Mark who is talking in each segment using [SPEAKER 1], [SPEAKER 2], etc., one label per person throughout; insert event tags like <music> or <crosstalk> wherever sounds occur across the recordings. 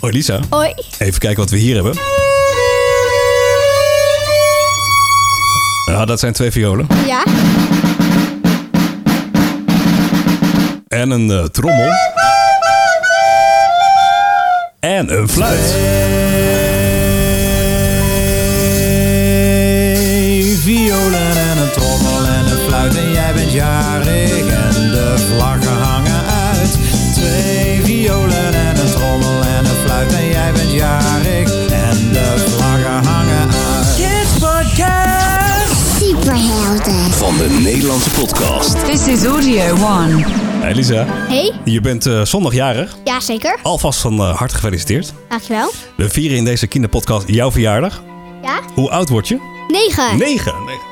[SPEAKER 1] Hoi Lisa.
[SPEAKER 2] Hoi.
[SPEAKER 1] Even kijken wat we hier hebben. Nou, dat zijn twee violen.
[SPEAKER 2] Ja.
[SPEAKER 1] En een eh, trommel. En een fluit.
[SPEAKER 3] Hey, violen en een trommel en een fluit en jij bent jarig en de vlaggen hangen uit. Twee violen en een trommel en een fluit en jij bent jarig en de vlaggen hangen uit. Kids Podcast!
[SPEAKER 2] Superhelden.
[SPEAKER 4] Van de Nederlandse podcast.
[SPEAKER 5] This is Audio One.
[SPEAKER 1] Hey Lisa,
[SPEAKER 2] Hey.
[SPEAKER 1] je bent eh zondagjarig.
[SPEAKER 2] Jazeker.
[SPEAKER 1] Alvast van eh, harte gefeliciteerd.
[SPEAKER 2] Dankjewel.
[SPEAKER 1] We vieren in deze kinderpodcast jouw verjaardag.
[SPEAKER 2] Ja.
[SPEAKER 1] Hoe oud word je?
[SPEAKER 2] 9.
[SPEAKER 1] Negen. Negen.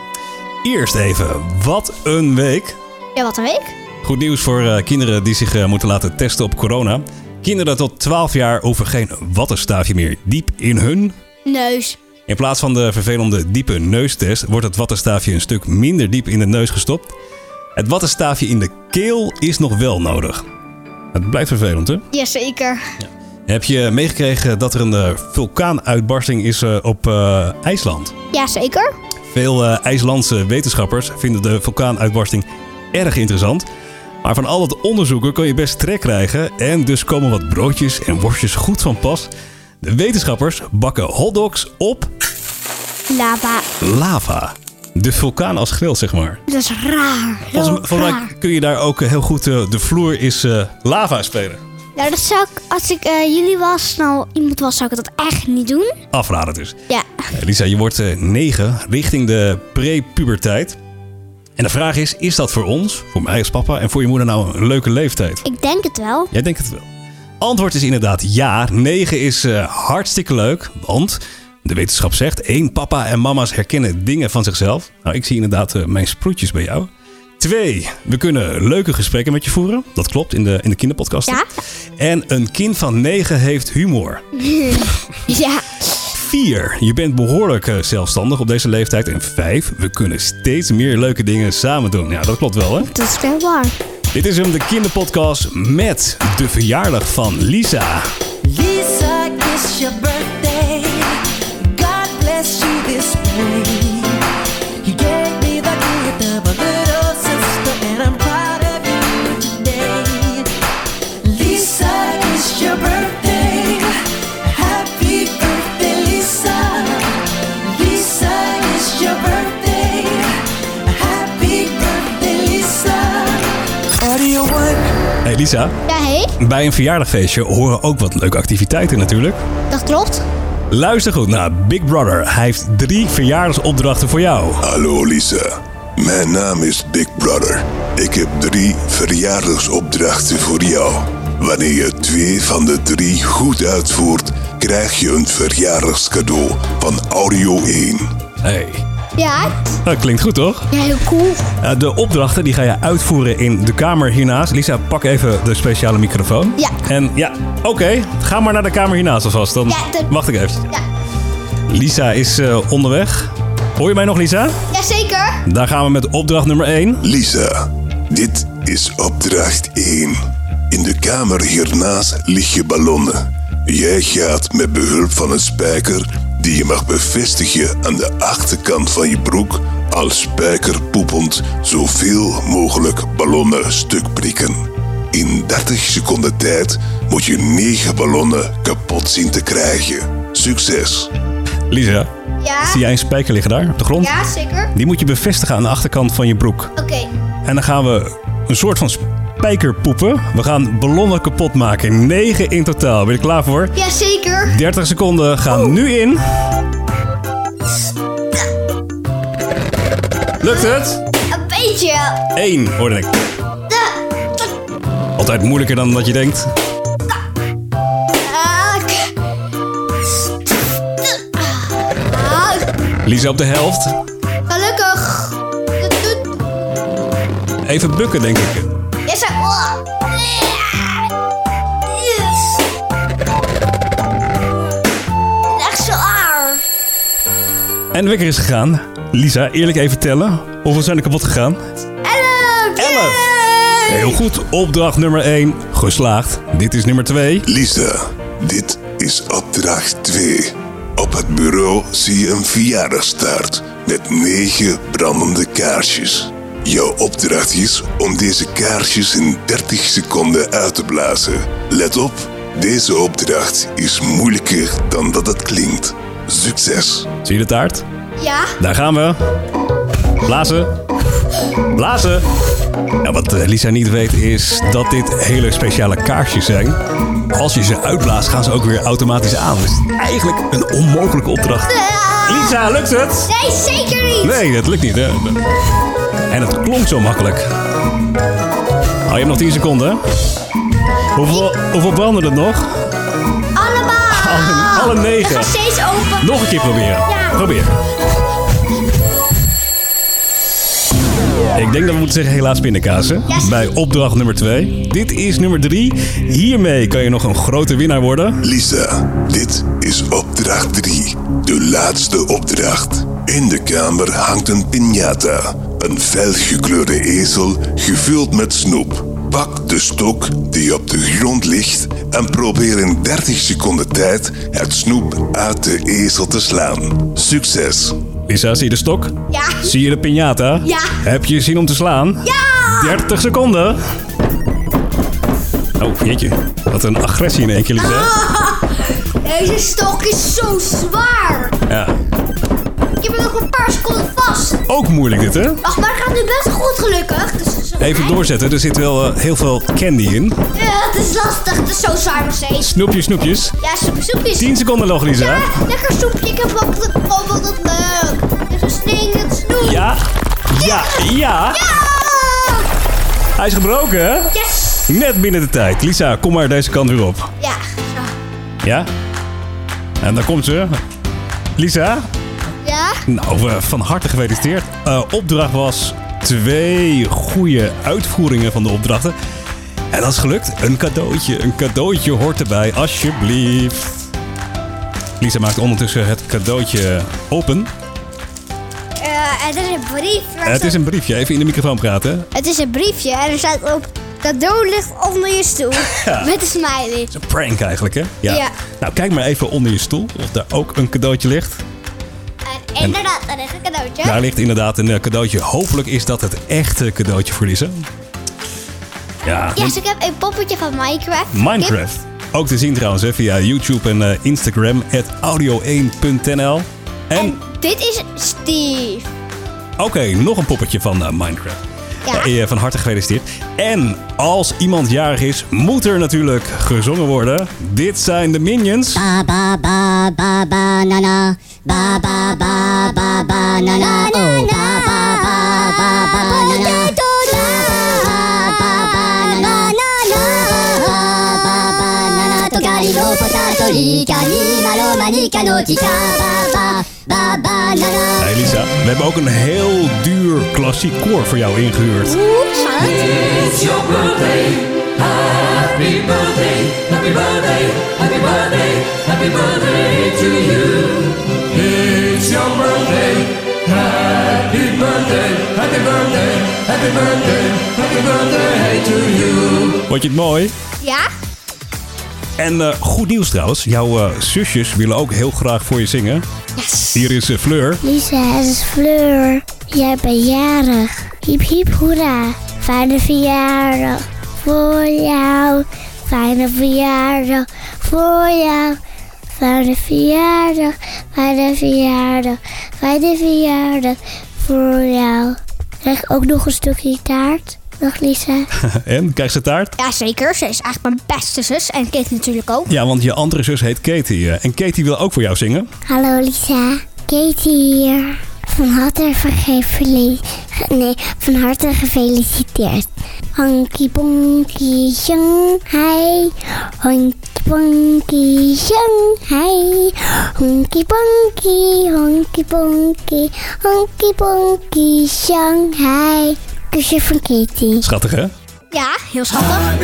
[SPEAKER 1] Eerst even, wat een week.
[SPEAKER 2] Ja, wat een week.
[SPEAKER 1] Goed nieuws voor eh, kinderen die zich eh, moeten laten testen op corona. Kinderen tot 12 jaar hoeven geen wattenstaafje meer diep in hun.
[SPEAKER 2] Neus.
[SPEAKER 1] In plaats van de vervelende diepe neustest wordt het wattenstaafje een stuk minder diep in de neus gestopt. Het wattenstaafje in de keel is nog wel nodig. Het blijft vervelend, hè?
[SPEAKER 2] Jazeker.
[SPEAKER 1] Heb je meegekregen dat er een eh, vulkaanuitbarsting is eh, op eh, IJsland?
[SPEAKER 2] Jazeker.
[SPEAKER 1] Veel eh, IJslandse wetenschappers vinden de vulkaanuitbarsting erg interessant. Maar van al het onderzoeken kan je best trek krijgen en dus komen wat broodjes en worstjes goed van pas. De wetenschappers bakken hotdogs op
[SPEAKER 2] Lava.
[SPEAKER 1] lava. De vulkaan als grill, zeg maar.
[SPEAKER 2] Dat is raar. Heel
[SPEAKER 1] Volgens, volgens mij
[SPEAKER 2] raar.
[SPEAKER 1] kun je daar ook eh, heel goed eh, de vloer is eh, lava spelen.
[SPEAKER 2] Nou, dat zou ik, als ik eh, jullie was, nou iemand was, zou ik dat echt niet doen.
[SPEAKER 1] Afraden dus.
[SPEAKER 2] Ja.
[SPEAKER 1] Eh, Lisa, je wordt eh, 9 richting de pre-puberteit. En de vraag is, is dat voor ons, voor mij als papa en voor je moeder nou een leuke leeftijd?
[SPEAKER 2] Ik denk het wel.
[SPEAKER 1] Jij denkt het wel. Antwoord is inderdaad ja. 9 is eh, hartstikke leuk, want de wetenschap zegt... één, papa en mama's herkennen dingen van zichzelf. Nou, ik zie inderdaad eh, mijn sproetjes bij jou. Twee, we kunnen leuke gesprekken met je voeren. Dat klopt, in de, in de kinderpodcast.
[SPEAKER 2] Ja.
[SPEAKER 1] En een kind van 9 heeft humor.
[SPEAKER 2] <laughs> Ja.
[SPEAKER 1] 4. Je bent behoorlijk eh, zelfstandig op deze leeftijd. En 5. We kunnen steeds meer leuke dingen samen doen. Ja, dat klopt wel, hè?
[SPEAKER 2] Dat is wel waar.
[SPEAKER 1] Dit is hem, de kinderpodcast met de verjaardag van Lisa.
[SPEAKER 6] Lisa, it's your birthday. God bless you this way. You gave me the gift of a good old sister, and I'm proud of you today. Lisa, it's your birthday. Happy birthday, Lisa. Lisa, it's your birthday. Happy birthday, Lisa. Audio One.
[SPEAKER 1] Hey Lisa,
[SPEAKER 2] Ja, hé.
[SPEAKER 1] bij een verjaardagfeestje horen ook wat leuke activiteiten natuurlijk.
[SPEAKER 2] Dat klopt.
[SPEAKER 1] Luister goed naar Big Brother. Hij heeft drie verjaardagsopdrachten voor jou.
[SPEAKER 7] Hallo Lisa, mijn naam is Big Brother. Ik heb drie verjaardagsopdrachten voor jou. Wanneer je twee van de drie goed uitvoert, krijg je een verjaardagscadeau van Audio 1.
[SPEAKER 1] Hey,
[SPEAKER 2] Ja.
[SPEAKER 1] dat klinkt goed toch?
[SPEAKER 2] Ja, heel cool.
[SPEAKER 1] Eh, de opdrachten die ga je uitvoeren in de kamer hiernaast. Lisa, pak even de speciale microfoon.
[SPEAKER 2] Ja.
[SPEAKER 1] En ja, oké. Ga maar naar de kamer hiernaast alvast. Dan
[SPEAKER 2] Ja, dat-
[SPEAKER 1] wacht ik even.
[SPEAKER 2] Ja.
[SPEAKER 1] Lisa is eh, onderweg. Hoor je mij nog, Lisa?
[SPEAKER 2] Jazeker.
[SPEAKER 1] Daar gaan we met opdracht nummer 1.
[SPEAKER 7] Lisa, dit is opdracht 1. In de kamer hiernaast liggen ballonnen. Jij gaat met behulp van een spijker die je mag bevestigen aan de achterkant van je broek als spijker poepend zoveel mogelijk ballonnen stuk prikken. In 30 seconden tijd moet je 9 ballonnen kapot zien te krijgen. Succes!
[SPEAKER 1] Lisa,
[SPEAKER 2] Ja.
[SPEAKER 1] zie jij een spijker liggen daar op de grond?
[SPEAKER 2] Ja, zeker.
[SPEAKER 1] Die moet je bevestigen aan de achterkant van je broek.
[SPEAKER 2] Oké.
[SPEAKER 1] En dan gaan we een soort van spijkerpoepen. We gaan ballonnen kapot maken. 9 in totaal. Ben je er klaar voor?
[SPEAKER 2] Jazeker.
[SPEAKER 1] 30 seconden gaan nu in. Lukt het?
[SPEAKER 2] Een beetje.
[SPEAKER 1] 1 hoorde ik. Altijd moeilijker dan dat je denkt.
[SPEAKER 2] Ak. Ak.
[SPEAKER 1] Lisa op de helft.
[SPEAKER 2] Gelukkig. Dat doet-
[SPEAKER 1] Even bukken, denk ik.
[SPEAKER 2] Is er... Oh. Yes. Echt zo ar.
[SPEAKER 1] En de wekker is gegaan. Lisa, eerlijk even tellen. Hoeveel zijn er kapot gegaan?
[SPEAKER 2] Elf.
[SPEAKER 1] Elf. Heel goed, opdracht nummer 1 geslaagd. Dit is nummer 2.
[SPEAKER 7] Lisa, dit is opdracht 2. Op het bureau zie je een verjaardagstaart met 9 brandende kaarsjes. Jouw opdracht is om deze kaarsjes in 30 seconden uit te blazen. Let op, deze opdracht is moeilijker dan dat het klinkt. Succes!
[SPEAKER 1] Zie je de taart?
[SPEAKER 2] Ja.
[SPEAKER 1] Daar gaan we. Blazen. Blazen. Ja, wat eh, Lisa niet weet is dat dit hele speciale kaarsjes zijn. Als je ze uitblaast, gaan ze ook weer automatisch aan. Dus eigenlijk een onmogelijke opdracht. Lisa, lukt het?
[SPEAKER 2] Nee, zeker niet.
[SPEAKER 1] Nee, dat lukt niet. Hè? En het klonk zo makkelijk. Oh, je hebt nog 10 seconden. hè? Hoeveel, hoeveel branden het nog?
[SPEAKER 2] Allemaal.
[SPEAKER 1] Alle- alle negen.
[SPEAKER 2] Het gaat steeds open.
[SPEAKER 1] Nog een keer proberen.
[SPEAKER 2] Ja.
[SPEAKER 1] Probeer. Ik denk dat we moeten zeggen helaas pindakazen.
[SPEAKER 2] Yes.
[SPEAKER 1] Bij opdracht nummer 2. Dit is nummer 3. Hiermee kan je nog een grote winnaar worden.
[SPEAKER 7] Lisa, dit is opdracht 3, de laatste opdracht. In de kamer hangt een piñata, een felgekleurde ezel gevuld met snoep. Pak de stok die op de grond ligt en probeer in 30 seconden tijd het snoep uit de ezel te slaan. Succes!
[SPEAKER 1] Lisa, zie je de stok?
[SPEAKER 2] Ja.
[SPEAKER 1] Zie je de piñata?
[SPEAKER 2] Ja.
[SPEAKER 1] Heb je zin om te slaan?
[SPEAKER 2] Ja.
[SPEAKER 1] 30 seconden. Oh, jeetje. Wat een agressie in één keer, Lisa.
[SPEAKER 2] Ah. Deze stok is zo zwaar.
[SPEAKER 1] Ja.
[SPEAKER 2] Ik heb hem nog een paar seconden vast.
[SPEAKER 1] Ook moeilijk dit, hè?
[SPEAKER 2] Wacht, maar het gaat nu best goed gelukkig. Dus het is oké.
[SPEAKER 1] Even doorzetten. Er zit wel eh, heel veel candy in.
[SPEAKER 2] Ja, Eh, het is lastig. Het is zo zwaar nog steeds.
[SPEAKER 1] Snoepjes, snoepjes.
[SPEAKER 2] Ja, soep, soepjes.
[SPEAKER 1] 10 seconden nog, Lisa.
[SPEAKER 2] Ja, lekker soepje. Ik heb ook de oh, wat dat leuk. En zo sneeuw het snoep.
[SPEAKER 1] Ja, ja, ja.
[SPEAKER 2] Ah!
[SPEAKER 1] Hij is gebroken, hè?
[SPEAKER 2] Yes.
[SPEAKER 1] Net binnen de tijd. Lisa, kom maar deze kant weer op.
[SPEAKER 2] Ja.
[SPEAKER 1] Ja? En daar komt ze. Lisa?
[SPEAKER 2] Ja?
[SPEAKER 1] Nou, eh, van harte gefeliciteerd. Eh, opdracht was twee goede uitvoeringen van de opdrachten. En dat is gelukt. Een cadeautje. Een cadeautje hoort erbij, alsjeblieft. Lisa maakt ondertussen het cadeautje open.
[SPEAKER 2] Eh, het is een brief. waar
[SPEAKER 1] Het
[SPEAKER 2] staat-
[SPEAKER 1] is een briefje. Even in de microfoon praten.
[SPEAKER 2] het is een briefje en er staat op... Cadeau ligt onder je
[SPEAKER 1] <laughs>
[SPEAKER 2] stoel. Met een smiley.
[SPEAKER 1] Het is een prank eigenlijk, hè?
[SPEAKER 2] Ja.
[SPEAKER 1] Nou, kijk maar even onder je stoel of daar ook een cadeautje ligt.
[SPEAKER 2] En inderdaad, daar ligt een cadeautje.
[SPEAKER 1] Daar ligt inderdaad een eh, cadeautje. Hopelijk is dat het echte cadeautje voor Lisa. Ja.
[SPEAKER 2] Yes, dus ik heb een poppetje van Minecraft.
[SPEAKER 1] Minecraft. Ook te zien trouwens hè, via YouTube en eh, Instagram. at audio1.nl. En,
[SPEAKER 2] Dit, dit is Steve.
[SPEAKER 1] oké, nog een poppetje van eh, Minecraft.
[SPEAKER 2] Ja.
[SPEAKER 1] Eh, van harte gefeliciteerd. En als iemand jarig is, moet er natuurlijk gezongen worden. Dit zijn de Minions.
[SPEAKER 8] ba ba ba ba ba na na ba ba ba ba ba na na oh ba ba ba ba ba na na
[SPEAKER 1] Hey Lisa, we hebben ook een heel duur klassiek koor voor jou ingehuurd. Vond je het mooi?
[SPEAKER 2] Ja?
[SPEAKER 1] En eh, goed nieuws trouwens, jouw eh, zusjes willen ook heel graag voor je zingen.
[SPEAKER 2] Yes.
[SPEAKER 1] Hier is eh, Fleur.
[SPEAKER 9] Lisa, het is Fleur. Jij bent jarig. Hiep hiep hoera. Fijne verjaardag voor jou. Fijne verjaardag voor jou. Fijne verjaardag, fijne verjaardag, fijne verjaardag voor jou. Krijg ik ook nog een stukje taart? Dag Lisa.
[SPEAKER 1] en, krijg ze taart?
[SPEAKER 2] Ja, zeker. Ze is eigenlijk mijn beste zus. En Kate natuurlijk ook.
[SPEAKER 1] Ja, want je andere zus heet Katie. eh, en Katie wil ook voor jou zingen.
[SPEAKER 9] Hallo Lisa, Katie hier. Van harte vergeveli- Nee, van harte gefeliciteerd. Honky bonky Shanghai. Honky bonky Shanghai. Honky bonky, honky bonky, honky bonky Shanghai. Kusje van Katie.
[SPEAKER 1] Schattig hè?
[SPEAKER 2] Ja, heel schattig.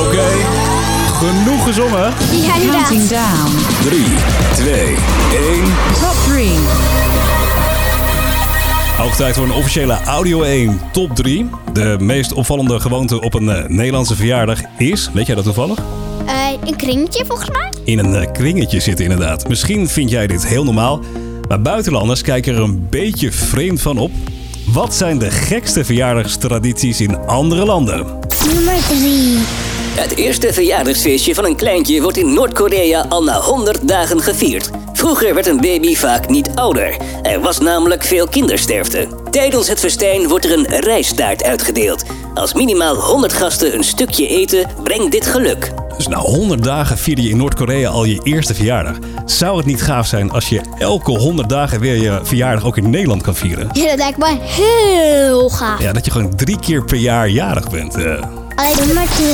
[SPEAKER 1] Oké, genoeg gezongen.
[SPEAKER 2] Ja, inderdaad.
[SPEAKER 5] Counting down.
[SPEAKER 4] 3, 2, 1.
[SPEAKER 5] Top 3.
[SPEAKER 1] Hoog tijd voor een officiële Audio 1 Top 3. De meest opvallende gewoonte op een eh, Nederlandse verjaardag is, weet jij dat toevallig?
[SPEAKER 2] Eh, een kringetje volgens mij.
[SPEAKER 1] In een eh, kringetje zitten inderdaad. Misschien vind jij dit heel normaal, maar buitenlanders kijken er een beetje vreemd van op. Wat zijn de gekste verjaardagstradities in andere landen?
[SPEAKER 10] Nummer 3.
[SPEAKER 11] Het eerste verjaardagsfeestje van een kleintje wordt in Noord-Korea al na 100 dagen gevierd. Vroeger werd een baby vaak niet ouder. Er was namelijk veel kindersterfte. Tijdens het festijn wordt er een rijstaart uitgedeeld. Als minimaal 100 gasten een stukje eten, brengt dit geluk.
[SPEAKER 1] Dus na 100 dagen vierde je in Noord-Korea al je eerste verjaardag. Zou het niet gaaf zijn als je elke 100 dagen weer je verjaardag ook in Nederland kan vieren?
[SPEAKER 2] Ja, dat lijkt me heel gaaf.
[SPEAKER 1] Ja, dat je gewoon drie keer per jaar jarig bent. eh.
[SPEAKER 10] Nummer 2.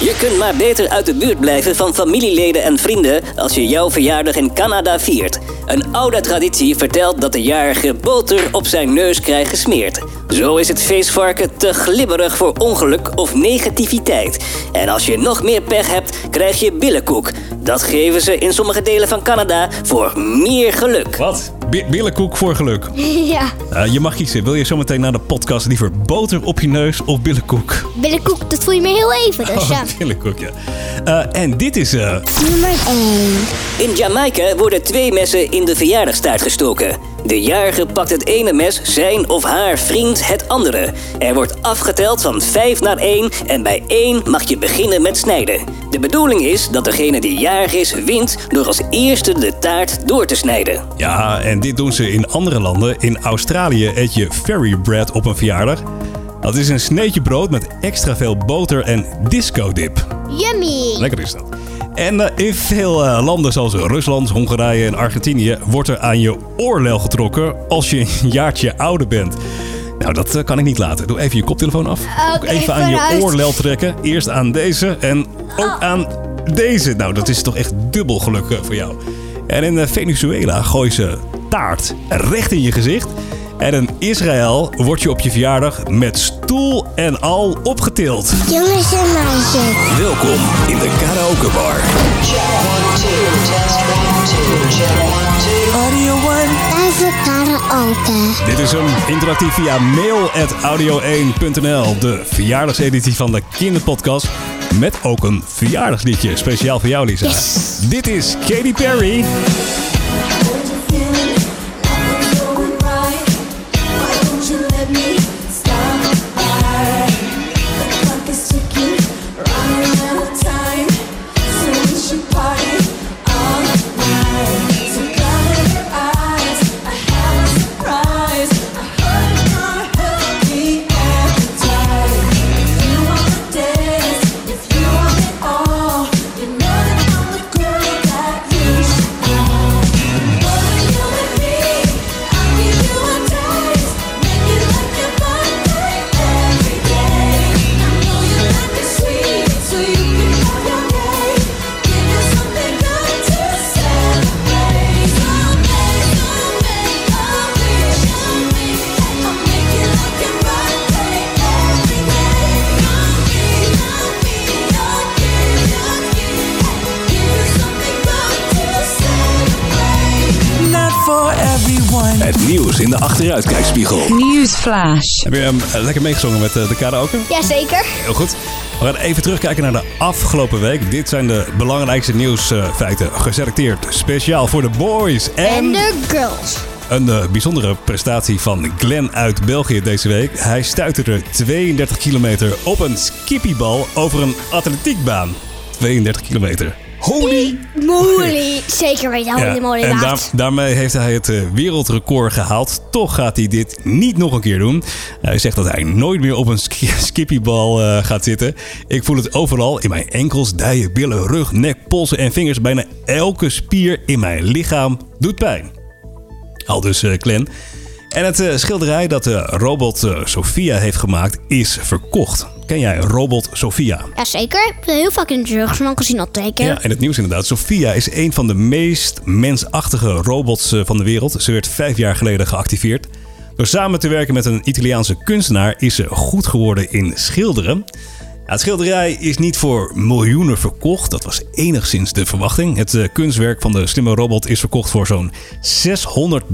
[SPEAKER 11] Je kunt maar beter uit de buurt blijven van familieleden en vrienden als je jouw verjaardag in Canada viert. Een oude traditie vertelt dat de jarige boter op zijn neus krijgt gesmeerd. Zo is het feestvarken te glibberig voor ongeluk of negativiteit. En als je nog meer pech hebt, krijg je billenkoek. Dat geven ze in sommige delen van Canada voor meer geluk.
[SPEAKER 1] Wat? Bi- billenkoek voor geluk.
[SPEAKER 2] Ja,
[SPEAKER 1] Eh, je mag kiezen. Wil je zometeen na de podcast liever boter op je neus of billenkoek?
[SPEAKER 2] billenkoek, dat voel je me heel
[SPEAKER 1] <laughs>
[SPEAKER 2] even. Dus ja.
[SPEAKER 1] Oh, billenkoek, ja. Eh, en dit is... eh,
[SPEAKER 10] Nummer 1.
[SPEAKER 11] In Jamaica worden twee messen in de verjaardagstaart gestoken. De jarige pakt het ene mes, zijn of haar vriend het andere. Er wordt afgeteld van 5 naar 1 en bij 1 mag je beginnen met snijden. De bedoeling is dat degene die jarig is wint door als eerste de taart door te snijden.
[SPEAKER 1] ja, en dit doen ze in andere landen. In Australië eet je fairy bread op een verjaardag. Dat is een sneetje brood met extra veel boter en disco dip.
[SPEAKER 2] Yummy.
[SPEAKER 1] Lekker is dat. En eh, in veel eh, landen zoals Rusland, Hongarije en Argentinië wordt er aan je oorlel getrokken als je een jaartje ouder bent. Nou, dat eh, kan ik niet laten. Doe even je koptelefoon af. Ook
[SPEAKER 2] Oké,
[SPEAKER 1] even aan je
[SPEAKER 2] vooruit.
[SPEAKER 1] oorlel trekken. Eerst aan deze en ook aan deze. Nou, dat is toch echt dubbel geluk eh, voor jou. En in eh, Venezuela gooien ze taart recht in je gezicht. En in Israël word je op je verjaardag met stoel en al opgetild.
[SPEAKER 10] Jongens en meisjes.
[SPEAKER 4] Welkom in de karaoke bar.
[SPEAKER 10] Even karaoke.
[SPEAKER 1] Dit is hem interactief via mail at audio1.nl. De verjaardagseditie van de kinderpodcast. Met ook een verjaardagsliedje. Speciaal voor jou, Lisa. Dit is Katy Perry.
[SPEAKER 6] Not for everyone.
[SPEAKER 4] Het nieuws in de achteruitkijkspiegel.
[SPEAKER 5] Newsflash.
[SPEAKER 1] Heb je hem eh, lekker meegezongen met eh, de karaoke?
[SPEAKER 2] Jazeker.
[SPEAKER 1] Heel goed. We gaan even terugkijken naar de afgelopen week. Dit zijn de belangrijkste nieuwsfeiten. Geselecteerd speciaal voor de boys.
[SPEAKER 2] En
[SPEAKER 1] En
[SPEAKER 2] de girls.
[SPEAKER 1] een eh, bijzondere prestatie van Glenn uit België deze week. Hij stuiterde 32 kilometer op een skippiebal over een atletiekbaan. 32 kilometer. Holy!
[SPEAKER 2] Moeilijk. Zeker weet je,
[SPEAKER 1] Ja,
[SPEAKER 2] helemaal mooi
[SPEAKER 1] en daar-
[SPEAKER 2] inderdaad.
[SPEAKER 1] daarmee heeft hij het eh, wereldrecord gehaald. Toch gaat hij dit niet nog een keer doen. Hij zegt dat hij nooit meer op een ski- <laughs> skippiebal eh, gaat zitten. Ik voel het overal in mijn enkels, dijen, billen, rug, nek, polsen en vingers. Bijna elke spier in mijn lichaam doet pijn. Al dus eh Glenn. En het eh, schilderij dat de robot eh, Sophia heeft gemaakt is verkocht. Ken jij robot Sophia?
[SPEAKER 2] Jazeker. Ik heb heel vaak in de drugsman gezien al twee keer.
[SPEAKER 1] Ja, in het nieuws inderdaad. Sophia is een van de meest mensachtige robots eh, van de wereld. Ze werd vijf jaar geleden geactiveerd. Door samen te werken met een Italiaanse kunstenaar is ze goed geworden in schilderen. Ja, het schilderij is niet voor miljoenen verkocht. Dat was enigszins de verwachting. Het eh, kunstwerk van de slimme robot is verkocht voor zo'n 600.000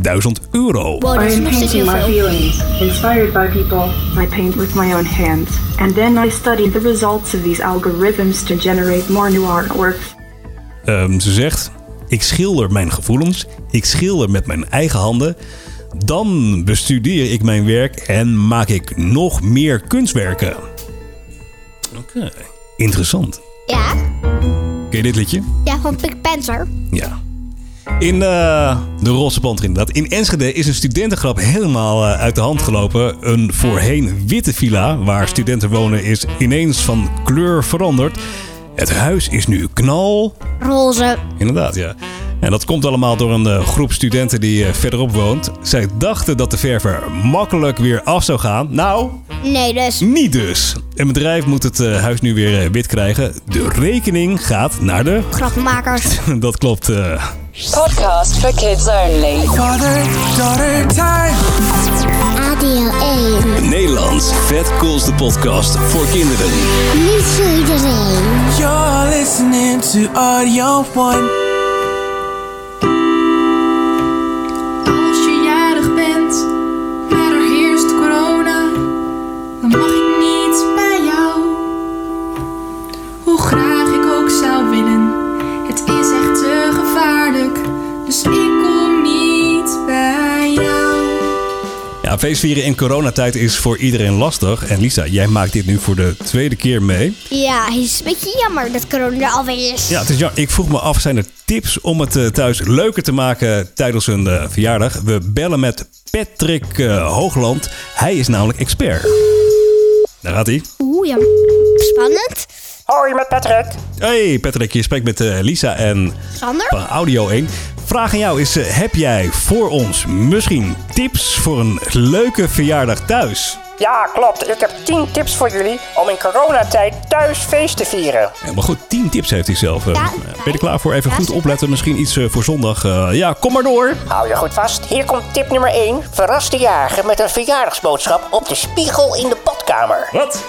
[SPEAKER 1] euro.
[SPEAKER 10] Oh,
[SPEAKER 12] I am painting my feelings, inspired by people. I paint with my own hands. And then I study the results of these algorithms to generate more new artworks.
[SPEAKER 1] Ehm, ze zegt: Ik schilder mijn gevoelens, ik schilder met mijn eigen handen. Dan bestudeer ik mijn werk en maak ik nog meer kunstwerken. Oké. Interessant.
[SPEAKER 2] Ja?
[SPEAKER 1] Ken je dit liedje?
[SPEAKER 2] Ja, van Pink Panther.
[SPEAKER 1] Ja. In eh, de roze panter inderdaad. In Enschede is een studentengrap helemaal eh, uit de hand gelopen. Een voorheen witte villa waar studenten wonen is ineens van kleur veranderd. Het huis is nu knal,
[SPEAKER 2] Roze.
[SPEAKER 1] Inderdaad, ja. En dat komt allemaal door een eh, groep studenten die eh, verderop woont. Zij dachten dat de verver makkelijk weer af zou gaan. Nou,
[SPEAKER 2] Nee, dus.
[SPEAKER 1] niet dus. Een bedrijf moet het eh, huis nu weer eh, wit krijgen. De rekening gaat naar de... <laughs>
[SPEAKER 2] Grappenmakers.
[SPEAKER 1] Dat klopt. eh.
[SPEAKER 5] Podcast for kids only.
[SPEAKER 6] Father, daughter, time.
[SPEAKER 10] Radio 1.
[SPEAKER 4] Nederlands Vet Calls de podcast voor kinderen.
[SPEAKER 10] Niet voor iedereen.
[SPEAKER 6] You're listening to Audio One.
[SPEAKER 13] Als je jarig bent, maar er heerst corona, dan mag ik niet bij jou. Hoe graag ik ook zou willen, het is echt te gevaarlijk, dus ik kom niet bij jou.
[SPEAKER 1] Ja, feestvieren in coronatijd is voor iedereen lastig. En Lisa, jij maakt dit nu voor de tweede keer mee.
[SPEAKER 2] Ja, het is een beetje jammer dat corona er alweer is.
[SPEAKER 1] Ja, het is ja, ik vroeg me af, zijn er tips om het eh, thuis leuker te maken tijdens een eh, verjaardag? We bellen met Patrick eh, Hoogland. Hij is namelijk expert. Daar gaat hij.
[SPEAKER 2] Oeh, ja. Spannend.
[SPEAKER 9] Hoi, met Patrick.
[SPEAKER 1] Hey Patrick, je spreekt met eh, Lisa en
[SPEAKER 2] Sander?
[SPEAKER 1] van Audio 1. Vraag aan jou is, eh, heb jij voor ons misschien tips voor een leuke verjaardag thuis?
[SPEAKER 9] Ja, klopt. Ik heb 10 tips voor jullie om in coronatijd thuis feest te vieren.
[SPEAKER 1] Ja, maar goed, 10 tips heeft hij zelf. eh. ben je er klaar voor? Even goed opletten, misschien iets eh, voor zondag. eh, ja, kom maar door.
[SPEAKER 9] Hou je goed vast. Hier komt tip nummer 1. Verras de jager met een verjaardagsboodschap op de spiegel in de badkamer.
[SPEAKER 1] Wat?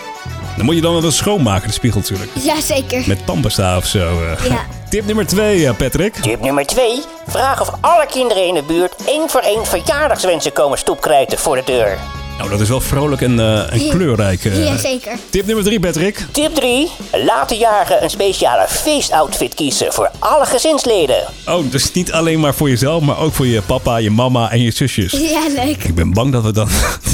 [SPEAKER 1] Dan moet je dan wel schoonmaken, de spiegel natuurlijk.
[SPEAKER 2] Jazeker.
[SPEAKER 1] Met tandpasta of zo. eh.
[SPEAKER 2] Ja.
[SPEAKER 1] <laughs> Tip nummer 2, Patrick.
[SPEAKER 9] Tip nummer 2. Vraag of alle kinderen in de buurt één voor één verjaardagswensen komen stoepkrijten voor de deur.
[SPEAKER 1] Nou, dat is wel vrolijk en, eh, en
[SPEAKER 9] Ja.
[SPEAKER 1] kleurrijk. eh.
[SPEAKER 9] Jazeker.
[SPEAKER 1] Tip nummer 3, Patrick.
[SPEAKER 9] Tip 3. Laat de jager een speciale feestoutfit kiezen voor alle gezinsleden.
[SPEAKER 1] Oh, dus niet alleen maar voor jezelf, maar ook voor je papa, je mama en je zusjes.
[SPEAKER 2] <laughs> Ja, leuk.
[SPEAKER 1] Ik ben bang dat <laughs> we dan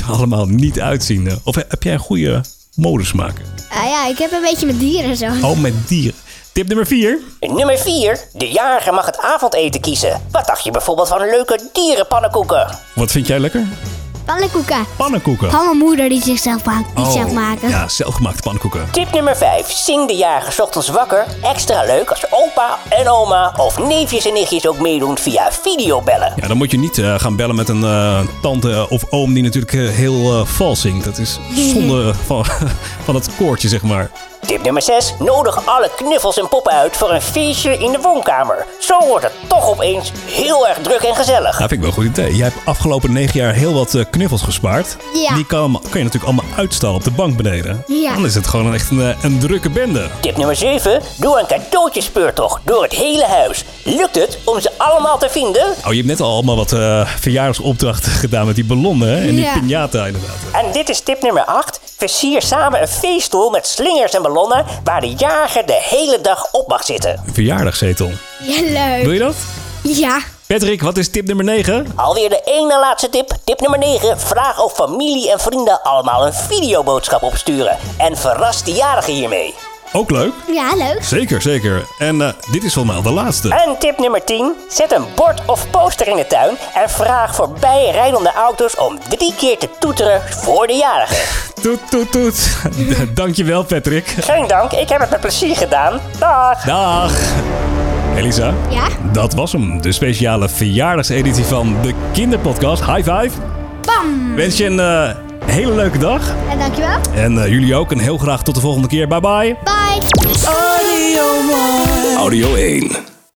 [SPEAKER 1] allemaal niet uitzien. eh. Of heb jij een goede modesmaak?
[SPEAKER 2] Ah ja, ik heb een beetje met dieren zo.
[SPEAKER 1] Oh, met dieren. Tip nummer 4.
[SPEAKER 9] Nummer 4. De jager mag het avondeten kiezen. Wat dacht je bijvoorbeeld van leuke dierenpannenkoeken?
[SPEAKER 1] Wat vind jij lekker?
[SPEAKER 2] Pannenkoeken.
[SPEAKER 1] Pannenkoeken.
[SPEAKER 2] Van mijn moeder die zichzelf maakt. Die
[SPEAKER 1] Oh,
[SPEAKER 2] zelf maken.
[SPEAKER 1] Ja, zelfgemaakte pannenkoeken.
[SPEAKER 9] Tip nummer 5. Zing de jager 's ochtends wakker. Extra leuk als opa en oma of neefjes en nichtjes ook meedoen via videobellen.
[SPEAKER 1] Ja, dan moet je niet eh, gaan bellen met een eh, tante of oom die natuurlijk eh, heel eh, vals zingt. Dat is zonde van, <laughs> van het koortje, zeg maar.
[SPEAKER 9] Tip nummer 6. Nodig alle knuffels en poppen uit voor een feestje in de woonkamer. Zo wordt het toch opeens heel erg druk en gezellig.
[SPEAKER 1] Dat vind ik wel een goed idee. Jij hebt afgelopen negen jaar heel wat eh, knuffels gespaard.
[SPEAKER 9] Ja.
[SPEAKER 1] Die kan, kan je natuurlijk allemaal uitstallen op de bank beneden.
[SPEAKER 9] Ja.
[SPEAKER 1] Dan is het gewoon echt een, eh, een drukke bende.
[SPEAKER 9] Tip nummer 7. Doe een cadeautjespeurtocht door het hele huis. Lukt het om ze allemaal te vinden?
[SPEAKER 1] Oh, je hebt net al allemaal wat eh, verjaardagsopdrachten <laughs> gedaan met die ballonnen hè? en die
[SPEAKER 9] Ja.
[SPEAKER 1] piñata inderdaad.
[SPEAKER 9] En dit is tip nummer 8. Versier samen een feeststoel met slingers en ballonnen waar de jager de hele dag op mag zitten.
[SPEAKER 1] Een verjaardagszetel.
[SPEAKER 2] Ja, leuk.
[SPEAKER 1] Wil je dat?
[SPEAKER 2] Ja.
[SPEAKER 1] Patrick, wat is tip nummer 9?
[SPEAKER 9] Alweer de ene laatste tip. Tip nummer 9. Vraag of familie en vrienden allemaal een videoboodschap opsturen. En verras de jarige hiermee.
[SPEAKER 1] Ook leuk.
[SPEAKER 2] Ja, leuk.
[SPEAKER 1] Zeker, zeker. En eh, dit is volgens mij al de laatste.
[SPEAKER 9] En tip nummer 10. Zet een bord of poster in de tuin en vraag voorbijrijdende auto's om drie keer te toeteren voor de jarige.
[SPEAKER 1] Toet, toet, toet. <laughs> Dankjewel, Patrick.
[SPEAKER 9] Geen dank, ik heb het met plezier gedaan. Dag!
[SPEAKER 1] Dag! Elisa?
[SPEAKER 2] Ja?
[SPEAKER 1] Dat was hem. De speciale verjaardagseditie van de Kinderpodcast. High five.
[SPEAKER 2] Bam.
[SPEAKER 1] Wens je een eh, hele leuke dag.
[SPEAKER 2] En dankjewel.
[SPEAKER 1] En eh, jullie ook. En heel graag tot de volgende keer. Bye bye.
[SPEAKER 2] Bye.
[SPEAKER 6] Audio One.
[SPEAKER 4] Audio 1.